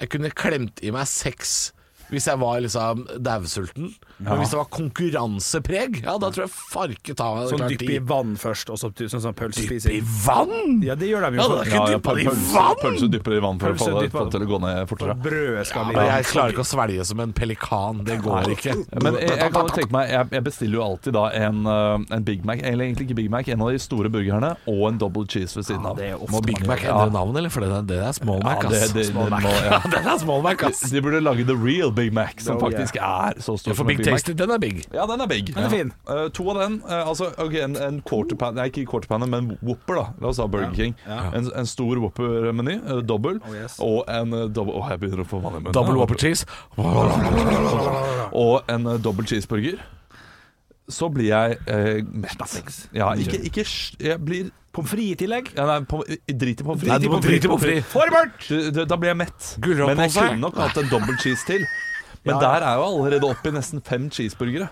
Speaker 2: Jeg kunne klemt i meg seks hvis jeg var liksom dausulten. Men hvis det var konkurransepreg, ja, da tror jeg farket av meg.
Speaker 1: Sånn
Speaker 2: klart
Speaker 1: dypp
Speaker 2: ti.
Speaker 1: i vann først, og så ty- sånn som
Speaker 2: Dypp i
Speaker 1: pølsespising.
Speaker 2: vann!
Speaker 1: Ja, det gjør de jo.
Speaker 2: Ja, det er
Speaker 1: sånn.
Speaker 2: ikke
Speaker 3: Ja, ja,
Speaker 2: dyppa det i
Speaker 3: pølse-
Speaker 2: vann!
Speaker 3: Pølse dypper i vann for å
Speaker 1: Pølse
Speaker 3: få det
Speaker 1: dypper-
Speaker 3: få det til å gå ned fortere.
Speaker 1: Brødet skal
Speaker 2: Men
Speaker 1: bli
Speaker 2: jeg klarer ikke å svelge som en pelikan. Det går ikke.
Speaker 3: Men jeg, jeg kan jo tenke meg Jeg, jeg bestiller jo alltid da en, eh, en Big Mac, eller egentlig ikke Big Mac, en av de store burgerne, og en double cheese ved siden av.
Speaker 1: det er ofte
Speaker 2: Må Big Mac endre navn, eller? For det er, det er small
Speaker 3: Ja,
Speaker 2: Mac,
Speaker 3: det,
Speaker 2: ass.
Speaker 3: det, det, må, ja.
Speaker 2: Den er small Mac, ass.
Speaker 3: De burde lage The Real Big Mac, som
Speaker 1: Oh,
Speaker 3: faktisk er så stor
Speaker 2: For
Speaker 3: som en
Speaker 2: Big
Speaker 3: Big Mac.
Speaker 2: Tasty, den er big.
Speaker 3: Ja, den er big.
Speaker 1: er fin.
Speaker 3: Ja. Eh, to av den. eh, altså, ok, en, en quarter pan Nei, ikke quarter pan, men Whopper, da. La oss ta Burger King. En, en stor Whopper-meny, uh, dobbel,
Speaker 1: Oh, yes.
Speaker 3: og en uh, dobbel Å, jeg begynner å få vann i munnen.
Speaker 2: Double Whopper Cheese.
Speaker 3: Og en uh, dobbel cheeseburger. Så blir jeg eh, mett. Ja, ikke, ikke sj- Jeg blir
Speaker 1: Pommes frites i tillegg.
Speaker 3: ja, Nei, pommes- drit i pommes
Speaker 2: Nei, du må drite i pommes frites.
Speaker 1: Formert!
Speaker 3: Du- du- Da blir jeg mett.
Speaker 2: Gulrot
Speaker 3: Men jeg
Speaker 2: på seg?
Speaker 3: kunne nok hatt en dobbel cheese til. Men
Speaker 1: Ja, ja.
Speaker 3: der er jo allerede oppe i nesten fem cheeseburgere.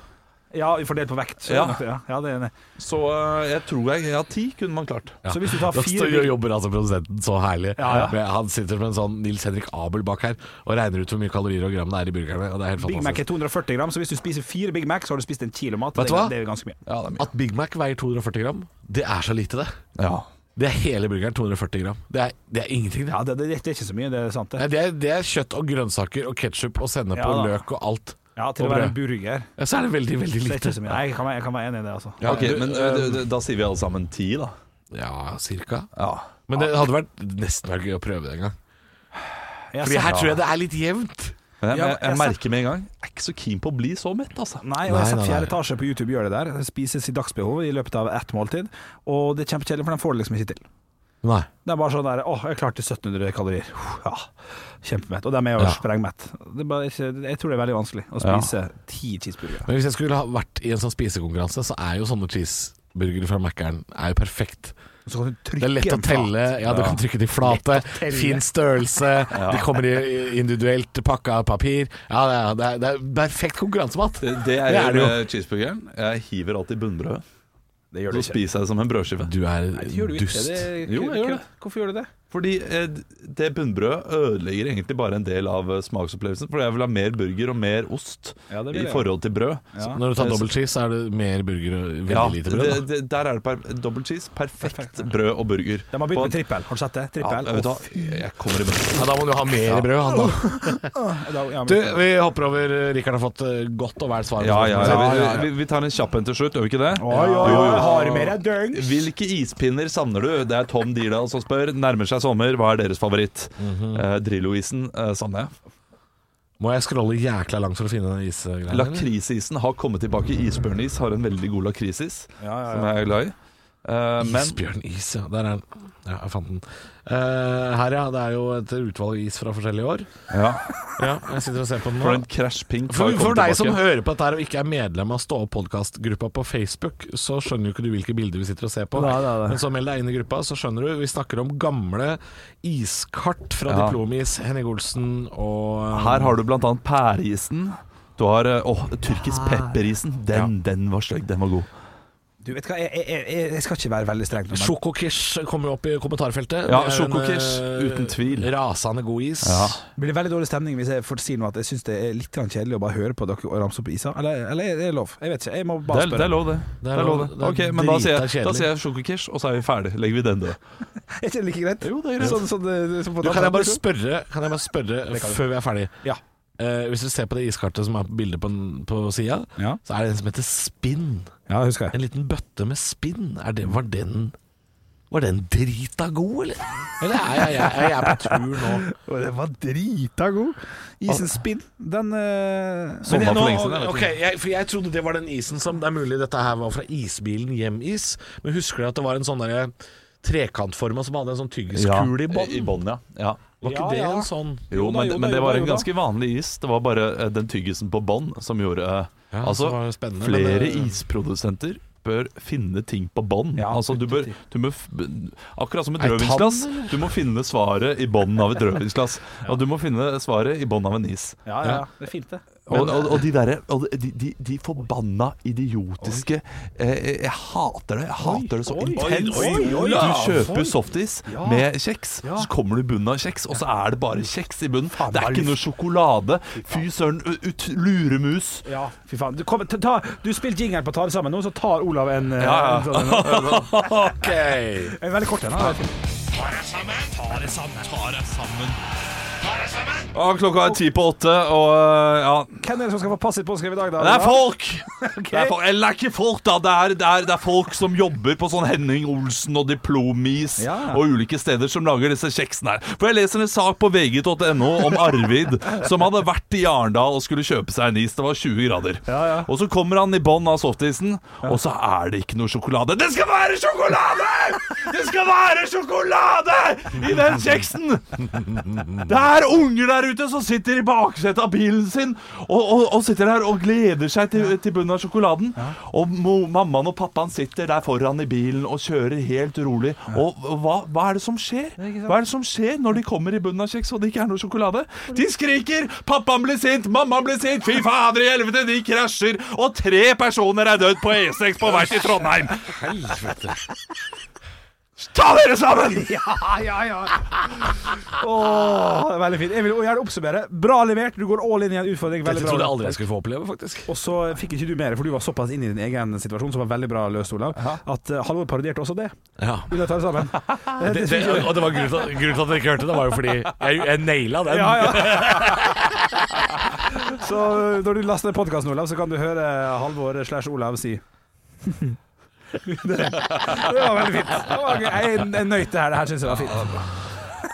Speaker 1: Ja, fordelt på vekt. Så,
Speaker 3: Ja.
Speaker 1: ja, ja, det er enig.
Speaker 3: Så eh, jeg tror jeg ja, ti kunne man klart.
Speaker 1: så hvis du tar
Speaker 2: Da
Speaker 1: fire
Speaker 2: står- jobber altså produsenten så herlig.
Speaker 1: Ja, ja.
Speaker 2: Men Han sitter som en sånn Nils Henrik Abel bak her og regner ut hvor mye kalorier og gram det er i burgerne. Og det er helt
Speaker 1: Big Mac er
Speaker 2: fantastisk.
Speaker 1: 240 gram, så hvis du spiser fire Big Mac, så har du spist en kilo mat.
Speaker 2: Vet
Speaker 1: Det,
Speaker 2: du hva?
Speaker 1: det er ganske mye.
Speaker 3: Ja, det er mye.
Speaker 2: At Big Mac veier 240 gram, det er så lite, det.
Speaker 3: Ja.
Speaker 2: Det er hele burgeren 240 gram. Det er, det er ingenting, det.
Speaker 1: Ja, det, det, det er ikke så mye, det er sant det.
Speaker 2: Nei, det, er, det er kjøtt og grønnsaker og ketsjup og sennep
Speaker 1: Ja,
Speaker 2: og
Speaker 1: da.
Speaker 2: løk og alt.
Speaker 1: Ja, til å
Speaker 2: Og
Speaker 1: være en
Speaker 2: brød.
Speaker 1: burger.
Speaker 2: Ja, så er det veldig, veldig
Speaker 1: Så det er
Speaker 2: lite.
Speaker 1: ikke så mye. Nei, jeg kan, være- jeg kan være enig i det, altså.
Speaker 2: Ja,
Speaker 3: ok,
Speaker 2: du,
Speaker 3: men
Speaker 2: eh,
Speaker 3: eh, da sier vi alle sammen ti, da.
Speaker 2: Ja, cirka.
Speaker 3: Ja.
Speaker 2: Men det hadde vært nesten vært gøy å prøve det en gang.
Speaker 1: Jeg
Speaker 2: Fordi
Speaker 1: sa-
Speaker 2: her tror jeg det er litt jevnt.
Speaker 3: Men jeg,
Speaker 1: Ja, men
Speaker 3: jeg, jeg
Speaker 1: jeg
Speaker 3: merker med en gang Jeg er ikke så keen på å bli så mett, altså.
Speaker 1: Nei, og jeg har
Speaker 2: Nei,
Speaker 1: sett
Speaker 2: nei, nei.
Speaker 1: fjerde etasje på YouTube gjør det der. Det spises i dagsbehov i løpet av ett måltid, og det er kjempekjedelig, for de får det liksom ikke til.
Speaker 2: Nei.
Speaker 1: Det er bare sånn der Å, jeg klarte 1700 kalorier. Uff, Ja, kjempemett. Og dem er jo
Speaker 2: Ja.
Speaker 1: sprengmett. Det er bare ikke, jeg tror det er veldig vanskelig å spise ti cheeseburgere.
Speaker 2: Men hvis jeg skulle ha vært i en sånn spisekonkurranse, så er jo sånne cheeseburgere fra Mækkern er jo perfekt.
Speaker 1: Så kan du
Speaker 2: Det
Speaker 1: trykke
Speaker 2: er lett å
Speaker 1: en fat.
Speaker 2: telle. Ja, du kan trykke til flate.
Speaker 1: telle.
Speaker 2: Fin størrelse. De kommer i individuelt pakka papir. Ja, det er, det er, det er perfekt konkurransemat.
Speaker 3: Det, det er,
Speaker 2: Det er det jo.
Speaker 3: eh, cheeseburgeren. Jeg hiver alltid bunnbrødet.
Speaker 1: Det gjør
Speaker 3: Så
Speaker 1: du ikke.
Speaker 3: spiser jeg det som en brødskive.
Speaker 2: Du er
Speaker 1: Nei, det gjør du ikke.
Speaker 2: dust.
Speaker 1: Det,
Speaker 3: Jo, jeg gjør det.
Speaker 1: Hvorfor gjør du det?
Speaker 3: Fordi eh, det bunnbrødet ødelegger egentlig bare en del av eh, smaksopplevelsen. For jeg vil ha mer burger og mer ost
Speaker 1: Ja, det vil
Speaker 3: i
Speaker 1: jeg.
Speaker 3: forhold til brød.
Speaker 1: Ja.
Speaker 2: Når du tar dobbelt cheese, så er det mer burger og veldig
Speaker 3: Ja,
Speaker 2: lite
Speaker 3: det,
Speaker 2: brød. da.
Speaker 3: det, der er det per, dobbelt cheese. Perfekt, brød og burger.
Speaker 1: De har begynt
Speaker 3: På-
Speaker 1: med trippel. Har du sett det?
Speaker 3: ja,
Speaker 1: Trippel.
Speaker 3: vet du hva, jeg kommer i bøtta.
Speaker 2: Ja, da må du ha mer brød. Han, da.
Speaker 1: Ja, ja, men-
Speaker 2: Du, vi hopper over. Rikard har fått eh, godt og vel svar. på
Speaker 3: Ja, ja,
Speaker 2: spørsmålet.
Speaker 1: ja, ja.
Speaker 3: Vi, vi- vi tar en kjapp en til slutt, gjør vi ikke det?
Speaker 1: Oi, oi,
Speaker 3: Jo,
Speaker 1: oi,
Speaker 3: jo.
Speaker 1: har mer enn døgn.
Speaker 3: Hvilke ispinner savner du? Det er Tom Dirdal som spør. Nærmer seg sommer, hva er deres favoritt? Eh, Drillo-isen eh, savner jeg.
Speaker 2: Må jeg scrolle jækla langt for å finne den isgreia? eller?
Speaker 3: Lakrisisen har kommet tilbake. Isbjørnis har en veldig god lakrisis,
Speaker 1: Ja, ja,
Speaker 3: som
Speaker 1: ja.
Speaker 3: jeg er glad i. Eh, men
Speaker 2: Isbjørn is, ja. Der er den. Ja, jeg fant den. Eh, her, ja. Det er jo et utvalg is fra forskjellige år.
Speaker 3: ja,
Speaker 2: Ja, jeg sitter og ser på den nå.
Speaker 3: Front Crash Pink har
Speaker 2: For,
Speaker 3: kommet
Speaker 2: for deg
Speaker 3: tilbake.
Speaker 2: som hører på dette her og ikke er medlem av Stå opp-podkastgruppa på Facebook, så skjønner jo ikke du hvilke bilder vi sitter og ser på.
Speaker 1: Nei, nei, nei.
Speaker 2: Men så meld deg inn i gruppa, så skjønner du. Vi snakker om gamle iskart fra
Speaker 3: Ja.
Speaker 2: Diplomis, Henning Olsen og eh,
Speaker 3: Her har du blant annet pæreisen. Du har eh, åh, tyrkisk pepperisen. Den, den var stygg. Den var god.
Speaker 1: Du vet hva, jeg, jeg, jeg, jeg skal ikke være veldig streng nå, men
Speaker 2: Sjokokish kom jo opp i kommentarfeltet.
Speaker 3: Ja,
Speaker 2: Det er jo en,
Speaker 3: sjokokish,
Speaker 2: eh,
Speaker 3: uten tvil.
Speaker 2: Rasende god is.
Speaker 3: Ja.
Speaker 1: blir det veldig dårlig stemning hvis jeg får si noe at jeg syns det er litt grann kjedelig å bare høre på dere og ramse opp isa? Eller, eller er det lov? Jeg vet ikke. Jeg må
Speaker 3: Det
Speaker 1: bare
Speaker 3: er, det
Speaker 1: spørre.
Speaker 3: er lov, det.
Speaker 2: Det
Speaker 3: det,
Speaker 2: er
Speaker 3: er lov,
Speaker 2: lov,
Speaker 3: det.
Speaker 2: det er
Speaker 3: Ok, men da sier,
Speaker 2: drita
Speaker 3: jeg, da sier jeg sjokokish, og så er vi ferdig. Legger vi den død.
Speaker 1: Er ikke det like greit?
Speaker 3: Jo, det er greit.
Speaker 1: Sånn, sånn, eh, som på
Speaker 2: Du, kan jeg bare
Speaker 1: Dagsnytt?
Speaker 2: spørre, kan jeg bare spørre før vi er ferdig
Speaker 1: Ja.
Speaker 2: eh, Hvis du ser på det iskartet som er på bildet på, den- på sida,
Speaker 1: Ja.
Speaker 2: så er det en som heter spinn.
Speaker 1: Ja, husker jeg.
Speaker 2: En liten bøtte med spinn. Er det, var den var den drita god, eller? Eller er jeg, jeg, jeg er på tur nå?
Speaker 1: Og den var drita god. Isens spinn, den eh,
Speaker 3: Sånn
Speaker 1: men det-
Speaker 3: var for
Speaker 1: nå-
Speaker 3: lenge siden, jeg vet
Speaker 2: Ok, jeg, for jeg trodde det var den isen som Det er mulig dette her var fra isbilen Hjemis Men husker dere at det var en sånn der Trekantforma som hadde en sånn tyggiskule i bånd
Speaker 3: bånn, ja. ja.
Speaker 2: Var
Speaker 1: Ja,
Speaker 2: ikke det
Speaker 1: ja.
Speaker 2: en sånn
Speaker 3: Jo,
Speaker 1: Jo da,
Speaker 3: men,
Speaker 1: jo da,
Speaker 3: men det
Speaker 1: jo
Speaker 3: var
Speaker 1: da,
Speaker 3: en
Speaker 1: jo da.
Speaker 3: ganske vanlig is. Det var bare eh, den tyggisen på bånn som gjorde eh,
Speaker 2: Ja,
Speaker 3: Altså,
Speaker 2: så var det spennende,
Speaker 3: flere
Speaker 2: men det-
Speaker 3: isprodusenter bør finne ting på bånn.
Speaker 1: Ja,
Speaker 3: altså, du bør du må, f- Akkurat som et
Speaker 2: Ei tann,
Speaker 3: rødvinsglass. Du må finne svaret i bånnen av et rødvinsglass. Og du må finne svaret i bånn av en is.
Speaker 1: Ja, ja, ja. Det er fint, det.
Speaker 3: Og, og, og de derre og de, de, de forbanna idiotiske eh, Jeg hater det. Jeg hater det så
Speaker 1: Oi, oi, oi,
Speaker 3: intenst.
Speaker 1: oi, oi,
Speaker 3: Du
Speaker 1: ja,
Speaker 3: kjøper
Speaker 1: folk.
Speaker 3: softis
Speaker 1: Ja.
Speaker 3: med kjeks,
Speaker 1: Ja.
Speaker 3: så kommer du i bunnen av kjeks, og så er det bare kjeks i bunnen. Det
Speaker 1: bare
Speaker 3: er ikke
Speaker 1: luft.
Speaker 3: noe sjokolade. Fy søren, u- ut, luremus.
Speaker 1: Ja, fy faen. Du, kom, ta, ta, du spiller jingeren på Ta det sammen nå, så tar Olav en, eh,
Speaker 3: ja.
Speaker 1: en, sånn, en,
Speaker 2: Ok
Speaker 1: en veldig kort en. da.
Speaker 3: Ja, klokka er ti på åtte, og eh, ja
Speaker 1: Hvem er det som skal få passet påskrevet i dag, da?
Speaker 3: Det er
Speaker 1: Olav?
Speaker 3: folk! Det er folk. Eller det er ikke folk, da. Det er, det, er, det er folk som jobber på sånn Henning Olsen og Diplomis
Speaker 1: Ja.
Speaker 3: og ulike steder som lager disse kjeksene her. For jeg leser en sak på vg.no om Arvid som hadde vært i Arendal og skulle kjøpe seg en is. Det var 20 grader.
Speaker 1: Ja, ja.
Speaker 3: Og så kommer han i bånn av softisen, og så er det ikke noe sjokolade. Det skal være sjokolade! Det skal være sjokolade i den kjeksen! Det er unger der ute som sitter i baksetet av bilen sin og, og, og sitter der og gleder seg til, til bunnen av sjokoladen. Og mo, mammaen og pappaen sitter der foran i bilen og kjører helt rolig. Og hva, hva er det som skjer?
Speaker 1: ikke sant.
Speaker 3: Hva er det som skjer når de kommer i bunnen av kjeks og det ikke er noe sjokolade? De skriker! Pappaen blir sint! Mammaen blir sint! Fy fader i helvete, de krasjer! Og tre personer er dødd på E6 på vei til Trondheim!
Speaker 2: Helvete
Speaker 3: Ta dere sammen!
Speaker 1: Ja, ja, ja. Åh, det er veldig fint. Jeg vil gjerne oppsummere. Bra levert. Du går all in i en utfordring.
Speaker 2: Dette
Speaker 1: Veldig
Speaker 2: trodde jeg
Speaker 1: bra.
Speaker 2: aldri jeg skulle få oppleve faktisk
Speaker 1: Og så fikk ikke du mer, for du var såpass inne i din egen situasjon, som var veldig bra løst, Olav, at eh, Halvor parodierte også det.
Speaker 2: Ja
Speaker 1: Under Ta det sammen.
Speaker 2: det, det, og det var grunnen til, at- grunnen til at jeg ikke hørte det Var jo fordi jeg, jeg naila den
Speaker 1: Ja, ja. Så når du laster ned podkasten, Olav, så kan du høre Halvor slash Olav si det, det var veldig fint. Det var gøy. Jeg jeg nøyt det her. Det her syns jeg var fint.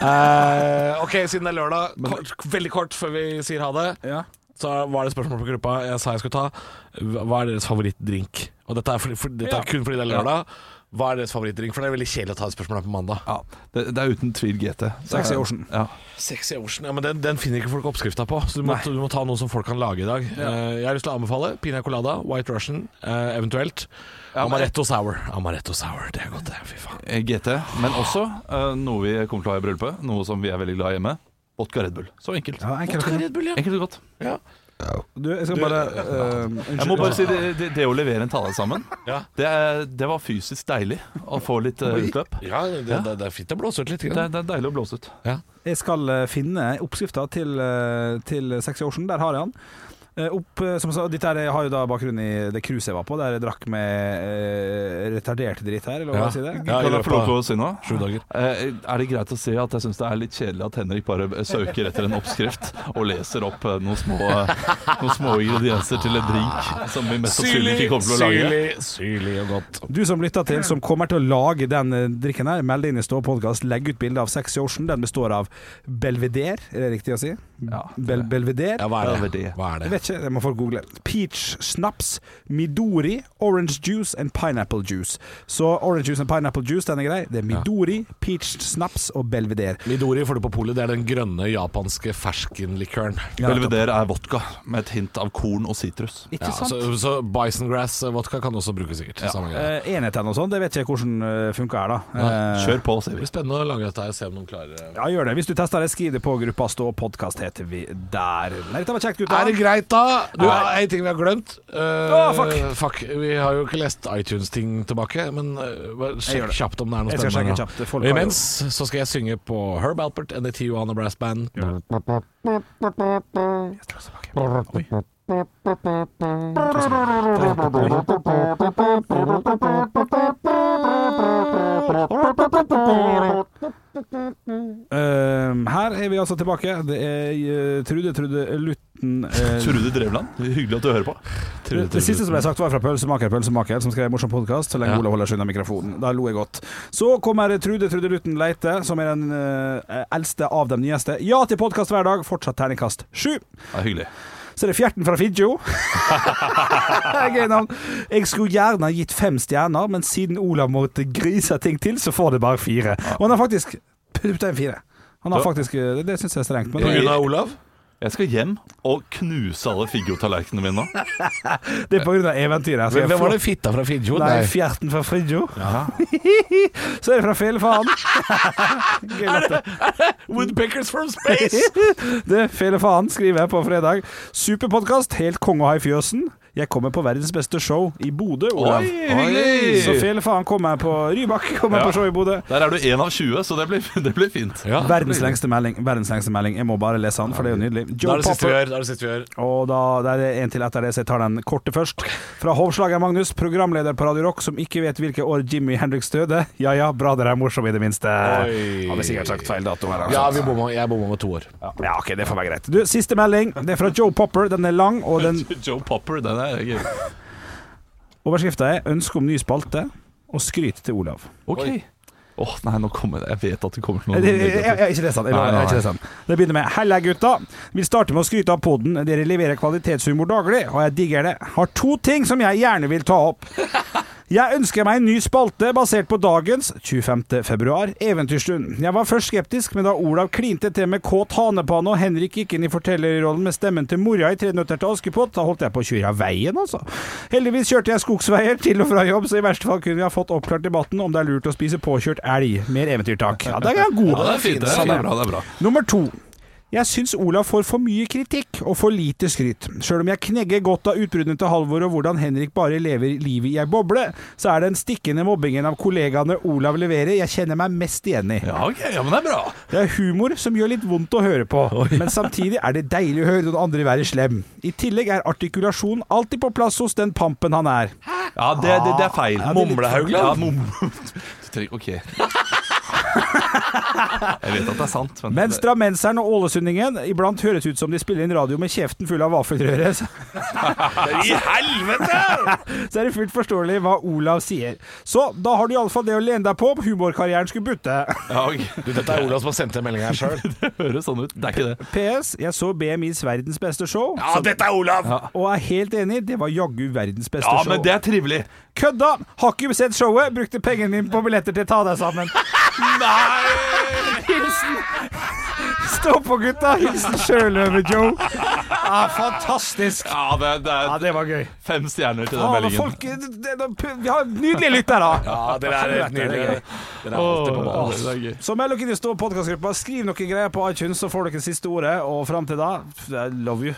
Speaker 2: Eh, Ok, siden det er lørdag kort, Veldig kort før vi sier ha det
Speaker 1: Ja.
Speaker 2: Så var det spørsmål på gruppa jeg sa jeg skulle ta. Hva er deres favorittdrink? Og dette er, fordi- for, dette
Speaker 1: Ja.
Speaker 2: er kun fordi det er lørdag. Hva er deres favorittdrink? For det er veldig kjedelig å ta et spørsmål her på mandag.
Speaker 3: Ja, det, det er uten tvil GT.
Speaker 1: Sexy Ocean.
Speaker 3: Ja.
Speaker 2: Sexy Ocean, ja, men den, den finner ikke folk oppskrifta på. Så du må, du må ta noe som folk kan lage i dag. Eh, jeg har lyst til å anbefale Pina Colada, White Russian, eh, eventuelt. Amaretto Sour. Amaretto Sour, det er godt, det. Fy faen.
Speaker 3: Eh, GT, men også eh, noe vi kommer til å ha i bryllupet, noe som vi er veldig glad i hjemme. Vodka Red Bull. Så enkelt.
Speaker 1: Ja, enkelt. og greit.
Speaker 2: Red Bull, ja.
Speaker 3: Enkelt og godt.
Speaker 2: ja.
Speaker 1: Du, jeg skal bare eh, Unnskyld.
Speaker 3: Jeg må bare si det, det, det å levere en tale sammen,
Speaker 2: Ja.
Speaker 3: det, er- det var fysisk deilig å få litt eh, utløp.
Speaker 2: Ja, det, det, det er fint å blåse ut litt.
Speaker 3: Det,
Speaker 2: Grann.
Speaker 3: er- det er deilig å blåse ut.
Speaker 1: Jeg skal eh, finne oppskrifta til, eh, til Sexy Ocean. Der har jeg den. Eh, Opp, eh, som sa, dette her, jeg har jo da bakgrunn i det cruiset jeg var på, der jeg drakk med eh, retardert dritt her, eller hva
Speaker 2: Ja.
Speaker 1: man sier det?
Speaker 2: Ja, i
Speaker 3: kan jeg få lov til
Speaker 2: løpet
Speaker 3: å si noe?
Speaker 2: Sju dager.
Speaker 3: Eh, er det greit å si at jeg syns det er litt kjedelig at Henrik bare søker etter en oppskrift og leser opp eh, noen små, noen små ingredienser til en drink som vi mest sannsynlig ikke kommer til å lage?
Speaker 2: syrlig, syrlig og godt.
Speaker 1: Du som lytter til, som kommer til å lage den eh, drikken her, meld deg inn i Stå podkast. Legg ut bilde av Sexy Ocean. Den består av Belvedere, er det riktig å si?
Speaker 3: Ja,
Speaker 1: Bel Belvedere.
Speaker 2: Ja, hva er det?
Speaker 3: Veldig.
Speaker 2: Hva er
Speaker 1: Jeg
Speaker 2: det?
Speaker 1: vet ikke, det må folk google. Peach, snaps, Midori, orange juice and pineapple juice. Så orange juice and pineapple juice, den er grei. Det er Midori, peach, snaps og Belvedere.
Speaker 2: Midori får du på polet. Det er den grønne japanske ferskenlikøren.
Speaker 3: Belvedere er vodka med et hint av korn og sitrus.
Speaker 1: Ikke
Speaker 2: Ja, altså,
Speaker 1: sant?
Speaker 2: så, så bison grass eh, vodka kan også brukes sikkert. Samme greie.
Speaker 1: Eh, enhetene og sånn, det vet ikke jeg hvordan uh, funker her, da. Eh,
Speaker 3: Kjør på, sier
Speaker 2: Det
Speaker 3: vi.
Speaker 2: blir spennende å lage dette her og se om noen klarer eh, det.
Speaker 1: Ja, gjør det. Hvis du tester det, skriv det på gruppa Stå podkast, heter vi der. Nei, dette var kjekt, gutta.
Speaker 2: Er det greit, da? Du, En ting vi har glemt. Eh,
Speaker 1: Å, fuck.
Speaker 2: Vi har jo ikke lest iTunes-ting tilbake, men eh, bare
Speaker 1: Jeg gjør
Speaker 2: sjekk
Speaker 1: det.
Speaker 2: kjapt om det er noe
Speaker 1: Jeg skal
Speaker 2: spennende.
Speaker 1: sjekke kjapt. Folk
Speaker 2: Og
Speaker 1: har jo-
Speaker 2: Imens så skal jeg synge på Herb Alpert and The Tijuana Brass Band.
Speaker 1: Eh, her er vi altså tilbake. Det er eh, eh, Trude Trude Lutten eh,
Speaker 3: Trude Drevland, hyggelig at du hører på.
Speaker 1: Det, det siste som ble sagt, var fra Pølsemaker, Pølsemaker, som skrev morsom podkast så lenge
Speaker 3: Ja.
Speaker 1: Ole holder seg unna mikrofonen. Da lo jeg godt. Så kommer Trude Trude Lutten Leite, som er den eh, eldste av de nyeste. Ja til podkast hver dag, fortsatt terningkast sju.
Speaker 3: Ja, hyggelig.
Speaker 1: Så er det Fjerten fra Figgjo. Gøy navn. Jeg skulle gjerne ha gitt fem stjerner, men siden Olav måtte grise ting til, så får det bare fire. Og han har faktisk putta en fire. Han har
Speaker 3: Ja.
Speaker 1: faktisk, eh, Det, det syns jeg er strengt. Men
Speaker 2: På
Speaker 1: det,
Speaker 2: grunn av Olav?
Speaker 3: Jeg skal hjem og knuse alle Figgjo-tallerkenene mine nå.
Speaker 1: det er pga. eventyret. så jeg
Speaker 2: Hvem
Speaker 1: får-
Speaker 2: var det fitta fra Figgjo?
Speaker 1: Nei,
Speaker 2: Nei.
Speaker 1: fjerten fra Fridjo. så er det fra Felefaren. Gøy latter.
Speaker 2: Woodpeckers from space!
Speaker 1: det Felefaren skriver jeg på fredag. Superpodkast, helt konge å ha i fjøsen. Jeg kommer på verdens beste show i Bodø, Olav.
Speaker 3: hyggelig!
Speaker 1: Så Felefaren kommer på Rybak, kommer
Speaker 3: Ja.
Speaker 1: på show i Bodø.
Speaker 3: Der er du én av 20, så det blir, det blir fint.
Speaker 2: Ja.
Speaker 1: Verdens lengste melding. verdens lengste melding Jeg må bare lese den, for det er jo nydelig.
Speaker 2: Da
Speaker 1: Joe
Speaker 2: er det siste vi
Speaker 1: Popper.
Speaker 2: gjør. Da er det siste vi gjør.
Speaker 1: Og da, det er en til etter det, så jeg tar den korte først. Fra hovslager Magnus, programleder på Radio Rock, som ikke vet hvilke år Jimmy Hendrix døde. Ja ja, bra dere er morsomme i det minste.
Speaker 2: Oi.
Speaker 1: Hadde sikkert sagt feil dato her. altså.
Speaker 2: Ja, vi bomma, jeg bomma med to år.
Speaker 1: ja, ok, det får være greit. Du, siste melding. Det er fra Joe Popper. Den er lang, og den
Speaker 3: Joe Popper, den er gøy.
Speaker 1: overskrifta er 'Ønske om ny spalte'. Og skryt til Olav.
Speaker 3: Ok. Åh, nei, nå kommer det Jeg vet at det kommer noe
Speaker 1: Jeg, jeg, jeg, jeg,
Speaker 3: negativt.
Speaker 1: ikke les den. Jeg lover,
Speaker 3: Nei, nei,
Speaker 1: jeg ikke les den. Det begynner med 'Hella, gutta'. Vil starte med å skryte av poden. Dere leverer kvalitetshumor daglig, og jeg digger det. Har to ting som jeg gjerne vil ta opp. Jeg ønsker meg en ny spalte basert på dagens, 25. februar, Eventyrstund. Jeg var først skeptisk, men da Olav klinte til med kåt hanepanne og Henrik gikk inn i fortellerrollen med stemmen til mora i Tre nøtter til Askepott, da holdt jeg på å kjøre av veien, altså. Heldigvis kjørte jeg skogsveier til og fra jobb, så i verste fall kunne vi ha fått oppklart debatten om det er lurt å spise påkjørt elg. Mer eventyrtak. Ja, det er god.
Speaker 3: Ja, det er fint. Det er,
Speaker 1: Sånn er det.
Speaker 3: bra. det er bra
Speaker 1: Nummer to. Jeg syns Olav får for mye kritikk og for lite skryt. Sjøl om jeg knegger godt av utbruddene til Halvor og hvordan Henrik bare lever livet i ei boble, så er den stikkende mobbingen av kollegaene Olav leverer, jeg kjenner meg mest igjen i.
Speaker 3: Ja, ok, ja, men det er bra.
Speaker 1: Det er humor som gjør litt vondt å høre på, men samtidig er det deilig å høre noen andre være slem. I tillegg er artikulasjonen alltid på plass hos den pampen han er.
Speaker 3: Ja, det, det, det er feil.
Speaker 1: det er litt-
Speaker 3: Ja, mum... Du trenger- Ok. Jeg vet at det er sant, men
Speaker 1: Mens drammenseren og ålesundingen iblant høres ut som de spiller inn radio med kjeften full av vaffelrøre, så
Speaker 2: I helvete!
Speaker 1: så er det fullt forståelig hva Olav sier. Så da har du iallfall det å lene deg på om humorkarrieren skulle butte.
Speaker 3: ja, ok.
Speaker 2: Du, dette er Olav som har sendt en melding her sjøl.
Speaker 3: Det høres sånn ut. Det er ikke det.
Speaker 1: PS. Jeg så BMIs verdens beste show,
Speaker 2: Ja, dette er Olav!
Speaker 1: og er helt enig, det var jaggu verdens beste
Speaker 3: Ja,
Speaker 1: show.
Speaker 3: men det er trivelig.
Speaker 1: Kødda! Har ikke sett showet, brukte pengene mine på billetter til Ta deg sammen.
Speaker 3: Nei!
Speaker 1: Hilsen Stå på, gutta! Hilsen Sjøløve-Joe. Ja, fantastisk.
Speaker 3: Ja, det, det
Speaker 1: Ja,
Speaker 3: er
Speaker 1: det var gøy.
Speaker 3: fem stjerner til den
Speaker 1: Faen,
Speaker 3: meldingen.
Speaker 1: Ah, folk, det, det, vi har nydelige lyttere.
Speaker 2: Ja, dere er helt nydelige. Dere er alltid på
Speaker 3: Åh,
Speaker 2: ballen.
Speaker 3: det er gøy.
Speaker 1: Så meld dere inn i stå podcastgruppa Skriv noen greier på iTunes, så får dere siste ordet. Og fram til da, I love you.